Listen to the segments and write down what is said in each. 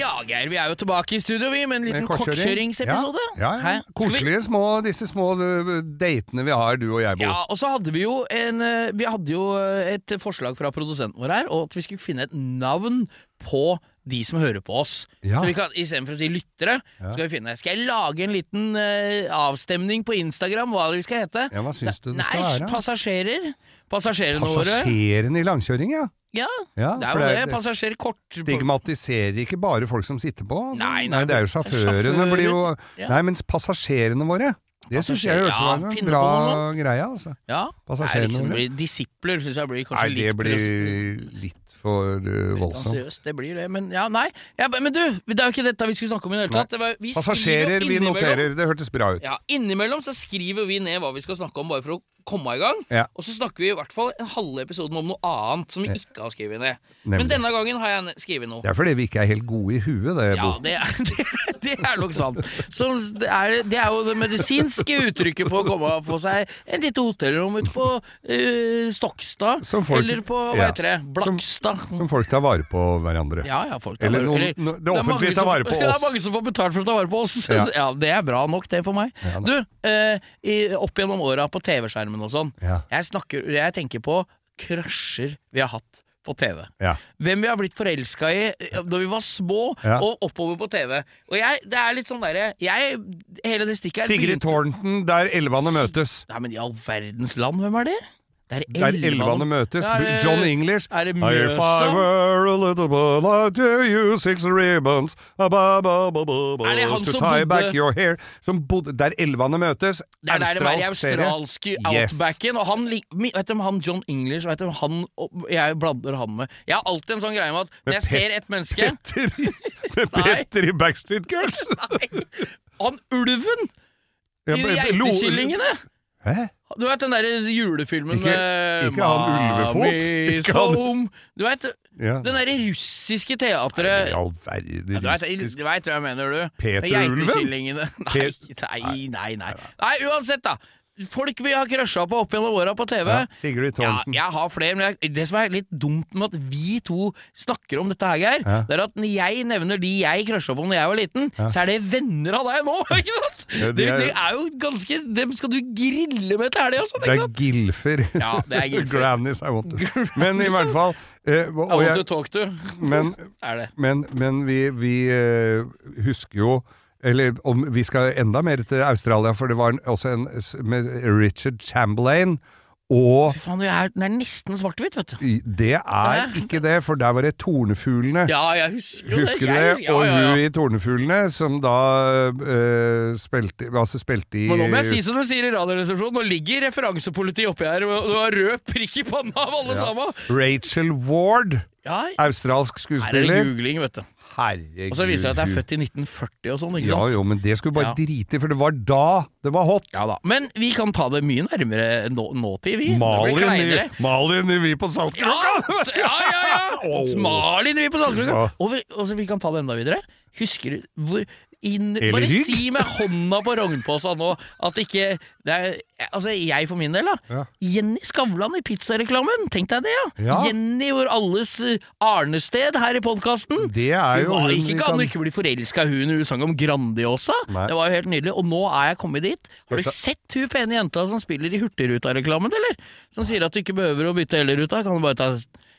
Ja, Geir, vi er jo tilbake i studio, vi, med en liten En kortkjøring. kortkjøringsepisode. Ja, ja, ja. Hæ? Skal vi- Koselige små, disse små uh, datene vi har, du og jeg, Bo. Ja, og så hadde vi jo en eh, Vi hadde jo eh, et forslag fra produsenten vår her, og at vi skulle finne et navn på de som hører på oss. Ja. Så vi kan, Istedenfor å si lyttere, Ja. skal vi finne Skal jeg lage en liten eh, avstemning på Instagram hva vi skal hete? Ja, hva syns du det Nei, skal være? passasjerer. Passasjerene våre. Passasjerene i langkjøring, ja. Ja, ja det er jo det. Passasjer kort... Stigmatiserer ikke bare folk som sitter på. Altså. Nei, nei, det er jo sjåførene blir jo ja. Nei, mens passasjerene våre Det syns jeg Passasjer- hørtes ut ja, som en finne bra på noe greie, altså. Ja. Nei, Passasjerene liksom, det våre. blir disipler syns jeg blir kanskje Nei, det litt blir press- litt for uh, litt voldsomt. ansiøst, Det blir det, men ja, nei. Ja, men du, det er jo ikke dette vi skulle snakke om i det hele tatt. Det var, vi skriver Passasjerer, vi innimellom- noterer. Det hørtes bra ut. Ja, Innimellom så skriver vi ned hva vi skal snakke om, bare for å komme i gang. Ja. Og så snakker vi i hvert fall en halve episoden om noe annet som vi ikke har skrevet ned. Men Nemlig. denne gangen har jeg ne- skrevet noe. Det er fordi vi ikke er helt gode i huet, det, Ja, Bo. det er, det, det er nok sant. Så det er, det er jo det medisinske uttrykket på å komme og få seg et lite hotellrom ute på eh, Stokstad. Som folk- eller på hva ja. heter det, Blakstad. Som folk tar vare på hverandre. ja, ja, folk Eller vare- noen- eller- no- er det offentlige mange tar som- vare på Det oss. er mange som får betalt for å ta vare på oss. Ja, Ja. Det er bra nok, det, for meg. Ja, da. du, eh, i, opp gjennom åra på TV-skjermen og sånn, Ja. jeg, snakker, jeg tenker på krasjer vi har hatt på TV. Ja. Hvem vi har blitt forelska i eh, da vi var små, Ja. og oppover på TV. Og jeg, det er litt sånn derre Jeg, hele det stikket her Sigrid begynte- Thornton, der elvene møtes. Nei, men i all verdens land, hvem er det? Det er Der elvene møtes. Er det- John English. er det If I Mjøsa? were a little boy, I'd give you six ribbons ba, ba, ba, ba, ba, Er det han to som tie bodde- back your hair. Som bodde Der elvene møtes. Det er der det var i Australsk serie. australske Yes. outbacken. Og han, lik- mi- vet du, om han John English vet du, om han, og jeg blander han med Jeg har alltid en sånn greie med at når jeg Pet- ser et menneske Petter i- Med Nei. Petter i Backstreet Girls. Han ulven Ja, i men- lo- Geitekyllingene! Hæ? Du vet den derre julefilmen Ikke- med ikke han Ulvefot. Mommy's Ikke han- Home Du vet Ja. den derre russiske I teatret all verden, ja, du vet, russisk du vet hva jeg mener, du. Peter Med Ulven? Geitekyllingene. Nei, nei, nei, nei. Nei, uansett, da. Folk vi har krasja på opp gjennom åra på TV. ja, Sigrid Thornton. Ja, jeg har flere, men jeg, det som er litt dumt med at vi to snakker om dette her, Geir, Ja. det er at når jeg nevner de jeg crusha på når jeg var liten, så er det venner av deg nå, ikke sant? Ja, de det, er- det er jo ganske Dem skal du grille med til helga, sånn, Det ikke er sant? Gilfer. Ja, det er gilfer. Grannies, I want to. Men i hvert fall eh, I og- og want jeg- to talk to. Men, er det. men, men vi, vi eh, husker jo eller om vi skal enda mer til Australia, for det var en, også en s- med Richard Chamberlain. Og Fy faen, jeg er, den er nesten svart-hvitt, vet du. i- det er Hæ? ikke det, for der var det tornefuglene. Ja, jeg husker jo Husker du Jeg det? husker- Og ja, ja, hun ja. i Tornefuglene, som da eh, spilte, altså spilte i Men nå må jeg si som de sier i Radioresepsjonen, nå ligger referansepolitiet oppi her, og du har rød prikk i panna av alle sammen! Rachel Ward, Ja, her er australsk det skuespiller. googling, vet du. Herregud. Og så viser det seg at jeg er født i 1940 og sånn, ikke Ja sant? jo, men det skulle du bare Ja. drite i, for det var da det var hot. Ja da. Men vi kan ta det mye nærmere nå, nåtid, vi. det blir Malin i, kleinere. Malin i Vi på Ja, Saltkråka! s- ja, ja! ja. Åh. Malin vi på Saltkråka. Ja. Og, vi- og så vi kan ta det enda videre. Husker du hvor inn, Eller Bare rygg. si med hånda på rognposa nå at ikke det er, Altså, jeg for min del, da. Ja. Jenny Skavlan i pizzareklamen. Tenk deg det, ja. Ja. Jenny vår alles eh, arnested her i podkasten. Det er Hun jo var hun ikke vi kan kan- ikke bli forelska i hun hun sang om Grandiosa. Nei. Det var jo helt nydelig. Og nå er jeg kommet dit. Har du Dette- sett hun pene jenta som spiller i Hurtigruta-reklamen, eller? Som sier at du ikke behøver å bytte hele ruta, kan du bare ta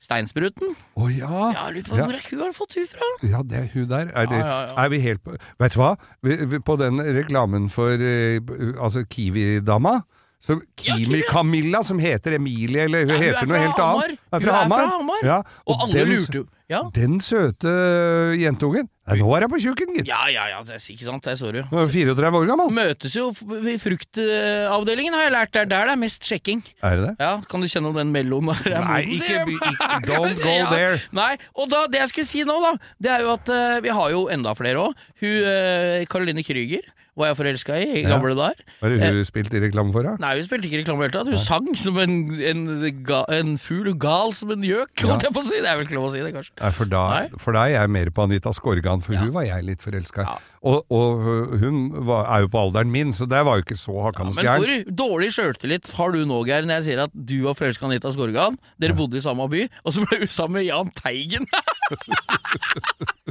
Steinspruten? Å ja. Ja, jeg lurer på Ja. hvor er hun har fått hun fra? Ja, det er hun der. Er, det, Ja, ja, ja. er vi helt på Vet du hva? Vi, vi, på den reklamen for eh, altså Kiwi-dama, Så Kimi Kimi. Camilla, som heter Emilie, eller hun Nei, hun er heter noe fra helt annet. Hamar. Hun er fra Hamar. Ja, Og alle den- lurte jo ja. Den søte eh, jentungen. Nei, nå er jeg på tjukken, gitt. ja, ja, ja, det er ikke sant, der så du. Nå er hun 34 år gammel. Møtes jo f- i fruktavdelingen, har jeg lært. Det er der det er mest sjekking. Er det det? Ja, Kan du kjenne om den mellom her er Nei, moden, ikke sier jeg. by- ikke- don't go Ja, there. Nei, og da, Det jeg skulle si nå, da, det er jo at eh, vi har jo enda flere òg. Hun eh, Caroline Krüger var jeg forelska i i Ja. gamle dager. Hva er det Eh. hun spilt i reklame for, da? Nei, hun spilte ikke reklame i det hele tatt. Hun sang som en, en, ga, en fugl, og gal som en gjøk, holdt jeg på å si. Det er vel ikke lov å si det, kanskje. Nei, for da, Nei. for da er jeg mer på Anita Skorgan, for hun var jeg litt forelska i. Ja. Og, og hun var, er jo på alderen min, så der var jo ikke så hakkende Men hvor gæren. dårlig sjøltillit har du nå, Geir, når jeg sier at du var forelska i Anita Skorgan, dere bodde i samme by, og så ble du sammen med Jahn Teigen?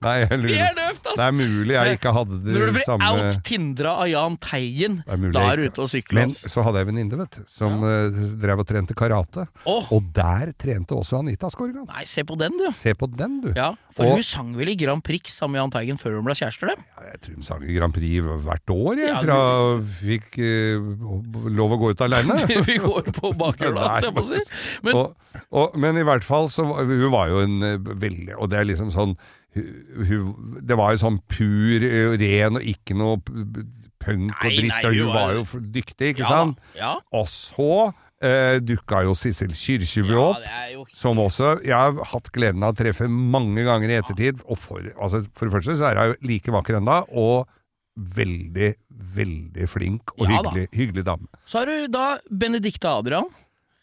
Nei, jeg Det lurer. er løft, Det altså! er mulig jeg ikke hadde Når du det blir samme out-tindra av Jahn Teigen, Det er mulig da jeg er du ikke- ute og sykler. Men altså. så hadde jeg en venninne, vet du, som eh, drev og trente karate. Åh. Og der trente også Anita Skorgan. Nei, se på den, du. Se på den, du. Ja, For Og- hun sang vel i Grand Prix sammen med Jahn Teigen før hun ble kjærester, dem? Ja, Jeg tror de sang i Grand Prix hvert år, jeg, Ja, fra fikk eh, lov å gå ut aleine. Vi går på bakhjula, holdt jeg på å si. Men og, og, men i hvert fall så var- Hun var jo en eh, veldig Og det er liksom sånn hu- hun, Det var jo sånn pur, eh, ren og ikke noe p- p- punk og Nei, dritt. nei, og hun hun var- var jo f- dyktig, ikke Ja, sant? ja. Og så eh, dukka jo Sissel Kyrkjebø ja, opp. det er jo Som også jeg har hatt gleden av å treffe mange ganger i ettertid. Og for, altså, for det første så er hun jo like vakker ennå, og veldig, veldig flink og Ja da. hyggelig, hyggelig dame. Så har du da Benedicte Adrian.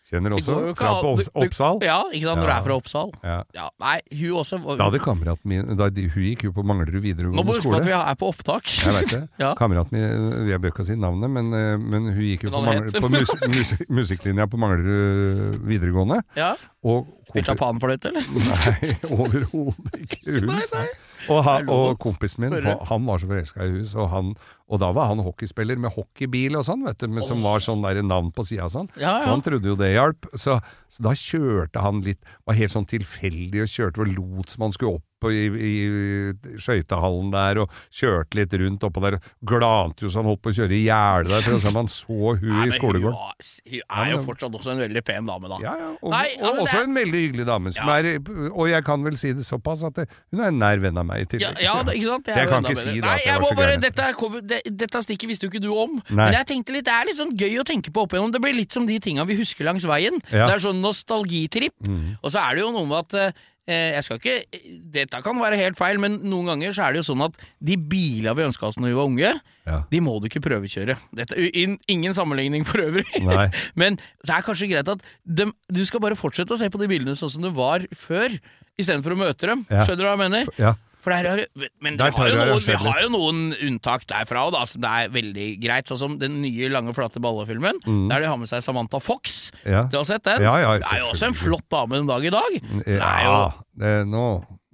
Kjenner Det også går jo ikke fra an- på du- Opps- du- Oppsal. Ja, ikke sant, når du Ja. er fra Oppsal. Ja. Ja, nei, hun også var- Da hadde kameraten min da, de- Hun gikk jo på Manglerud Nå må videregående du huske på skole. at vi er på opptak. Jeg vet det. Ja. Kameraten min Jeg bør ikke si navnet, men, eh, men hun gikk jo Men på, han Mangler, het- på mus, mus, musikklinja på Manglerud videregående. Ja. Og Spilte han panfløyte, eller? Nei, overhodet ikke hun. Nei, nei. sa. Og, han, Det er lov og å kompisen min, spørre. han var så forelska i hus, og, han, og da var han hockeyspiller med hockeybil og sånn, vet du, men som var sånn der navn på sida og sånn. Ja, ja. Så han trodde jo det hjalp. Så, så da kjørte han litt, var helt sånn tilfeldig og kjørte og lot som han skulle opp. på- I, i skøytehallen der og kjørte litt rundt oppå der. Glante jo så han holdt på å kjøre i gjerdet der, for å se om han så hun Nei, i men skolegården. Hun, var- hun er jo fortsatt også en veldig pen dame, da. Ja, ja. Og, Nei, altså, og også det er- en veldig hyggelig dame. Som Ja. er, og jeg kan vel si det såpass at det, hun er en nær venn av meg i Ja, tillegg. ja, det- ikke sant? Det er Jeg jo kan enda ikke bedre. si da Nei, at jeg jeg var må så bare, gæren. dette, er kom- det, dette stikket visste jo ikke du om, Nei. men jeg tenkte litt, det er litt sånn gøy å tenke på opp igjennom. Det blir litt som de tinga vi husker langs veien. Ja. Mm. Det er sånn nostalgitripp. Og så er det jo noe med at eh, jeg skal ikke, Dette kan være helt feil, men noen ganger så er det jo sånn at de bila vi ønska oss når vi var unge, Ja. de må du ikke prøvekjøre. Dette, in, ingen sammenligning for øvrig, Nei. men det er kanskje greit at dem, du skal bare fortsette å se på de bildene sånn som du var før, istedenfor å møte dem. Ja. Skjønner du hva jeg mener? Ja. For der har, jo- men Der vi, har jo tar jeg noen, vi avskjed litt. har jo noen unntak derfra også, da, som det er veldig greit. Sånn som den nye Lange flate balle-filmen, der de har med seg Samantha Fox. Mm. Ja. Du har sett den? Ja, ja, det er jo også en selvfølgelig. Mm. flott dame den dag i dag. Så det er jo, Ja, det, nå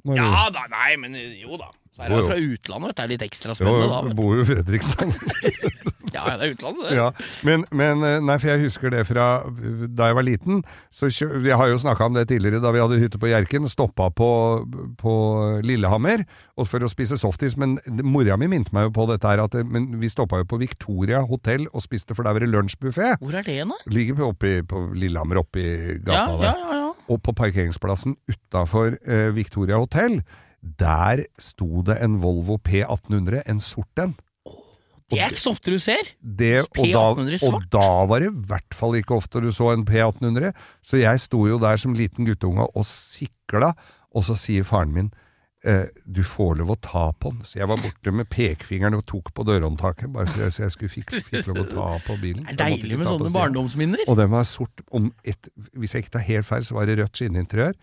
må vi ja da, nei, men jo da. Så er det Jo, jo. fra utlandet, vet du. Det er litt ekstra jo, spennende da. jo, Vet du. bor jo i Fredrikstad. Ja, det er utlandet, det. ja. men, men eh, Nei, for jeg husker det fra eh, da jeg var liten. Så kjø, jeg har jo snakka om det tidligere, da vi hadde hytte på Hjerken. Stoppa på, på Lillehammer og for å spise softis. Men mora mi minte meg jo på dette her, at eh, men vi stoppa jo på Victoria hotell og spiste, for der var det lunsjbuffé. Hvor er det hen, da? Ligger på, oppi, på Lillehammer oppi gata Ja, der. ja, ja, ja. Og på parkeringsplassen utafor eh, Victoria hotell, der sto det en Volvo P1800, en sort en. Det er ikke så ofte du ser. Det, og, da, P1800 og svart? da var det i hvert fall ikke ofte du så en P1800. Så jeg sto jo der som liten guttunge og sikla, og så sier faren min eh, du får lov å ta på den. Så jeg var borte med pekefingeren og tok på dørhåndtaket, bare for så jeg skulle fikk, fikk lov å ta på bilen. Det er Jeg måtte deilig ikke med ta på sånne stedet. barndomsminner. Og den var sort om et, Hvis jeg ikke tar helt feil, så var det rødt skinninteriør.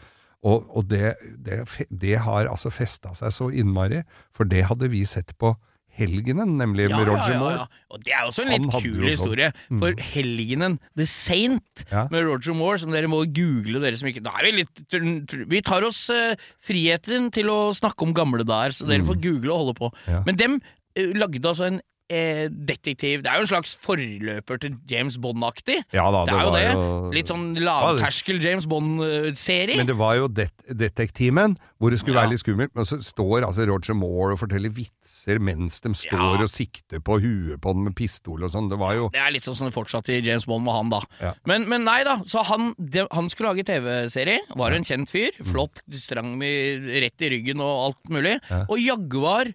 Og, og det, det, fe- det har altså festa seg så innmari, for det hadde vi sett på Helgenen, nemlig med Roger Moore. Og det er også en Han litt hadde jo kul sånn. historie. For helgenen The Saint Ja. med Roger Moore, som dere må google, dere som ikke Da er vi litt tr- tr- Vi tar oss eh, friheten til å snakke om gamle dager, så dere får google og holde på. Mm. Ja. Men dem eh, lagde altså en eh, detektiv Det er jo en slags forløper til James Bond-aktig. Ja da, det, det er jo var det. jo- Litt sånn det- lavterskel James eh, Bond-serie. Men det var jo det Detektimen, hvor det skulle Ja. være litt skummelt. Men så står altså Roger Moore og forteller vitser mens de står Ja. og sikter på huet på den med pistol og sånn. Det var jo Det er litt sånn som det fortsatte i James Bond med han, da. Ja. Men, men nei da, så han, det- han skulle lage TV-serie. Var en kjent fyr. Mm. Flott, strang med rett i ryggen og alt mulig. Og Jaguar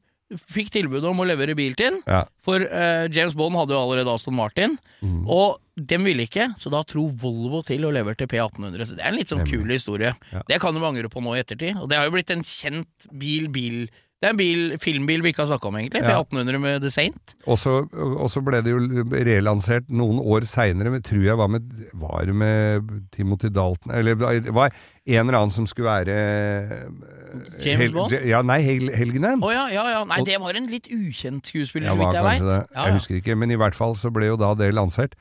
fikk tilbud om å levere bil til han. Ja. For eh, James Bond hadde jo allerede Aston Martin, Mm. og dem ville ikke, så da dro Volvo til og leverte P1800. Så det er en litt sånn kul historie. Det kan du angre på nå i ettertid, og det har jo blitt en kjent bil, bil Det er en bil, filmbil vi ikke har snakka om, egentlig. Ja. P1800 med The Saint. Og så og så ble det jo relansert noen år seinere, tror jeg var med, var det med Timothy Dalton Eller det var en eller annen som skulle være eh, James Bond? Ja, nei, Hel Helgenen. Å ja, ja, ja. Nei, det var en litt ukjent skuespiller, Ja, så vidt var jeg veit. kanskje det. Ja, Jeg ja. husker ikke, men i hvert fall så ble jo da det lansert.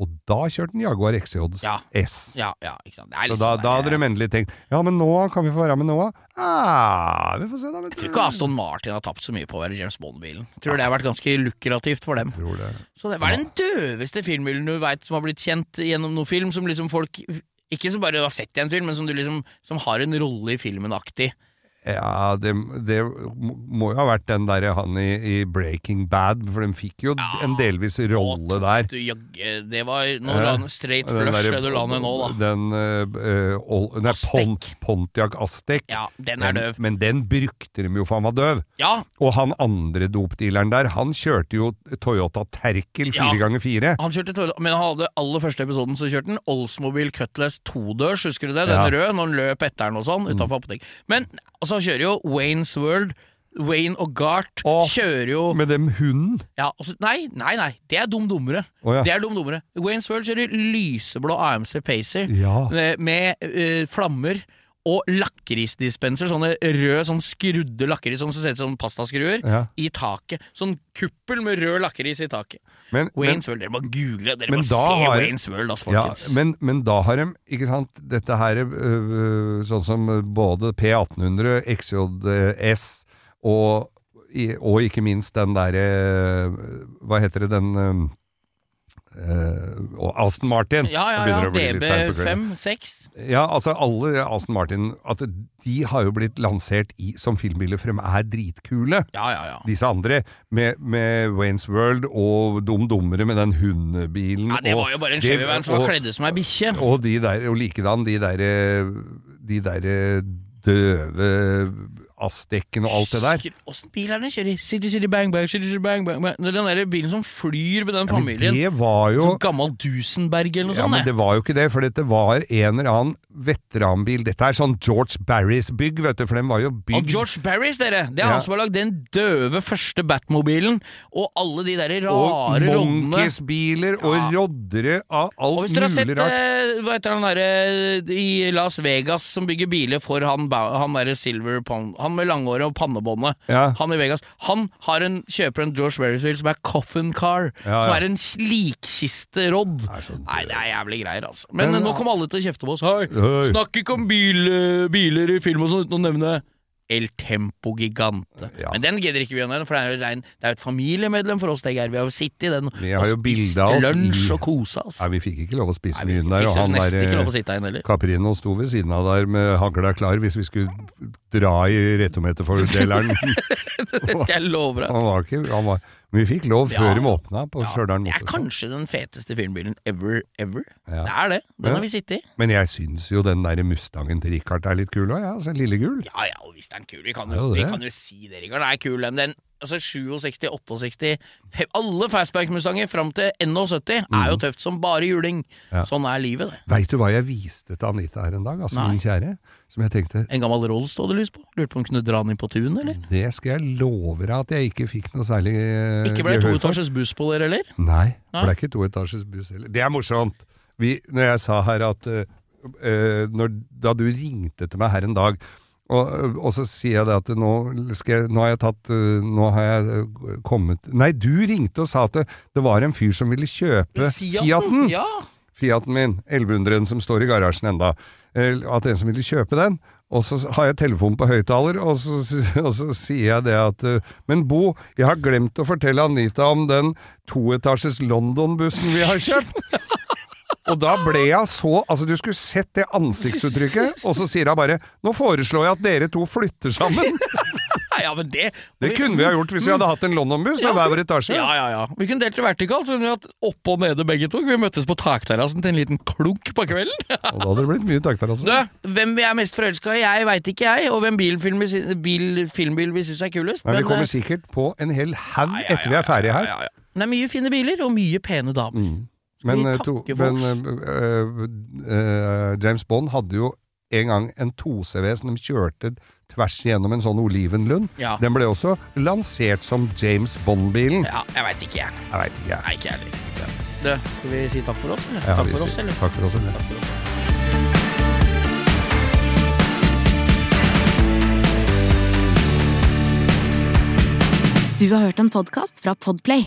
Og da kjørte den Jaguar XJ Ja. S. ja, ja, ikke sant. Det er Så litt da, sånn da der- hadde de endelig tenkt Ja, men Noah, kan vi få være med Noah? Ah, vi får se da, vet Jeg tror du. ikke Aston Martin har tapt så mye på å være James Bond-bilen. Tror det har vært ganske lukrativt for dem. Tror det. Så det var den døveste filmbilen du veit som har blitt kjent gjennom noen film, som liksom folk ikke som bare har sett i en film, men som, du liksom, som har en rolle i filmen aktig. Ja, det, det må jo ha vært den derre han i, i Breaking Bad, for de fikk jo en delvis rolle der. Du jagge, det var Nå Ja. la han straight Den flush, derre- det du la ned nå, da. Den eh, eh, ol- Nei, Aztek. Pont, Pontiac Aztek. Ja, den er døv. Men den brukte de jo, for han var døv. Ja, Og han andre dopdealeren der, han kjørte jo Toyota Terkel fire Ja. ganger fire. han kjørte Toyota, men han hadde aller første episoden så kjørte han Oldsmobile Cutlass todørs, husker du det? Den Ja. Mm. røde, når han løp etter den og sånn, utafor apotek. Men altså, han kjører jo Waynes World. Wayne og Gart Åh, kjører jo Med dem hunden. Ja, altså, nei, nei, nei, det er dum dummere. Å, ja. Det er dum dummere. Waynes World kjører lyseblå AMC Pacer Ja. med, med eh, flammer og lakrisdispenser, sånne rød, sånn skrudde lakris, sånn som ser ut som pastaskruer, Ja. i taket. Sånn kuppel med rød lakris i taket. Men, men, Waynes World, dere må google, dere Men må da se har- Waynes World, ass, ja, folkens. men, men da har de, ikke sant, dette her, øh, sånn som både P1800, XJS og, i- og ikke minst den derre Hva heter det, den øh, øh, og Aston Martin. ja, ja, Det ja, begynner å bli litt seint på kvelden. DB5, 6. Ja, altså alle Aston Martin At de har jo blitt lansert i, som filmbiler, for de er dritkule. Ja, ja, ja. disse andre, med, med Waynes World og Dum Dummere med den hundebilen. ja. Det og- var jo bare en det- Chevyvan som var og- kledd ut som ei bikkje. Og, de der, og likedan de der, de der døve Azteken og alt det der. Husker- Åssen bil er det den kjører? City City Bang Bang, City City Bang Bang, bang. Det er Den der bilen som flyr med den Men familien. det var jo Som gammel sånn, Dusenberg eller noe ja, men sånt. det var jo ikke det, for dette var en eller annen veteranbil. Dette er sånn George Barrys bygg, vet du, for den var jo det. bygd Og George Barris, dere! Det er Ja. han som har lagd den døve første Batmobilen, og alle de derre og rare rollene. Monkeys-biler og roddere av Og alt hvis dere har sett mulig rart. eh, hva heter han derre eh, i Las Vegas som bygger biler for han, ba- han derre Silver Pound Han med langhåret og pannebåndet. Ja. Han i Vegas. Han har en, kjøper en George Barris-bil som er Coffin Car. Ja, Som ja. er en slikkisterodd. er så død. Nei, det er jævlig greier, altså. Men, Men, nå kommer alle til å kjefte på oss. Hei, Hei. snakk ikke om bil, eh, biler i film og sånn uten å nevne El Tempo Gigante. Ja. Men den gidder ikke vi å nevne, for det er jo rein- det er jo et familiemedlem for oss. Det, Geir. Vi har jo sittet i den Vi har jo og bildet spist av oss i- lunsj og kosa oss. Nei, vi fikk ikke lov å spise Nei, vi mye der, eh, og fikk han nesten ikke der lov å sitte her inne heller. Caprino sto ved siden av der med hagla klar hvis vi skulle dra i rettometerfordeleren. Det skal jeg love deg. han ass. var ikke, han var, men vi fikk lov før Ja. de åpna på Stjørdal Det er motorshow. kanskje den feteste filmbilen ever, ever. Ja. Det er det. Den Ja. har vi sittet i. Men jeg syns jo den der Mustangen til Richard er litt kul òg, ja, altså lillegul. Ja ja, og hvis den er kul. Vi kan Ja, jo, det vi er. kan jo si det, Rikard. Den er kul, den. den altså 67, 68, fem- alle Fastback-mustanger fram til NO70 er jo tøft som bare juling. Mhm. Ja. Sånn er livet, det. Veit du hva jeg viste til Anita her en dag, altså Nei. min kjære? Som jeg tenkte En gammel Rolls stod det lys på. Lurte på om hun kunne dra den inn på tunet, eller? det skal jeg love deg at jeg ikke fikk noe særlig eh, Ikke ble det gehør for. toetasjes buss på dere, eller? Nei, Nei. for det er ikke toetasjes buss heller. Det er morsomt. Vi, når jeg sa her at eh, eh, når, Da du ringte til meg her en dag, og, eh, og så sier jeg det at nå, skal jeg, nå har jeg tatt eh, Nå har jeg eh, kommet Nei, du ringte og sa at det, det var en fyr som ville kjøpe Fiaten! Ja! Fiaten min, 1100-en som står i garasjen enda, eh, at en som ville kjøpe den, Og så har jeg telefonen på høyttaler, og, så s- og så sier jeg det at eh, Men Bo, jeg har glemt å fortelle Anita om den toetasjes London-bussen vi har kjøpt. Og da ble jeg så Altså, du skulle sett det ansiktsuttrykket, og så sier hun bare Nå foreslår jeg at dere to flytter sammen. Nei, ja, men det Det kunne vi ha gjort hvis vi hadde hatt en London-buss og hver vår etasje. Ja, ja, ja. Vi kunne delt det vertikalt, så kunne vi hatt oppe og nede begge to. Vi møttes på takterrassen til en liten klunk på kvelden. Og da hadde det blitt mye takter, altså. Du, hvem vi er mest forelska i, jeg veit ikke jeg, og hvem bilfilm vi, sy- bil, filmbil vi syns er kulest. Men vi men, eh, kommer sikkert på en hel haug etter vi er ferdige her. ja, ja. Det er mye fine biler og mye pene damer. Skal Men, vi eh, takke to, for men eh, eh, James Bond hadde jo en gang en 2CV som de kjørte tvers gjennom en sånn olivenlund. Ja. Den ble også lansert som James Bond-bilen. Ja, jeg veit ikke, jeg. Jeg veit ikke, jeg. Nei, ikke jeg heller. Du, skal vi si takk for oss, eller? Ja, takk vi for sier oss, eller? Takk for oss, eller? Takk for oss. Du har hørt en podcast fra Podplay.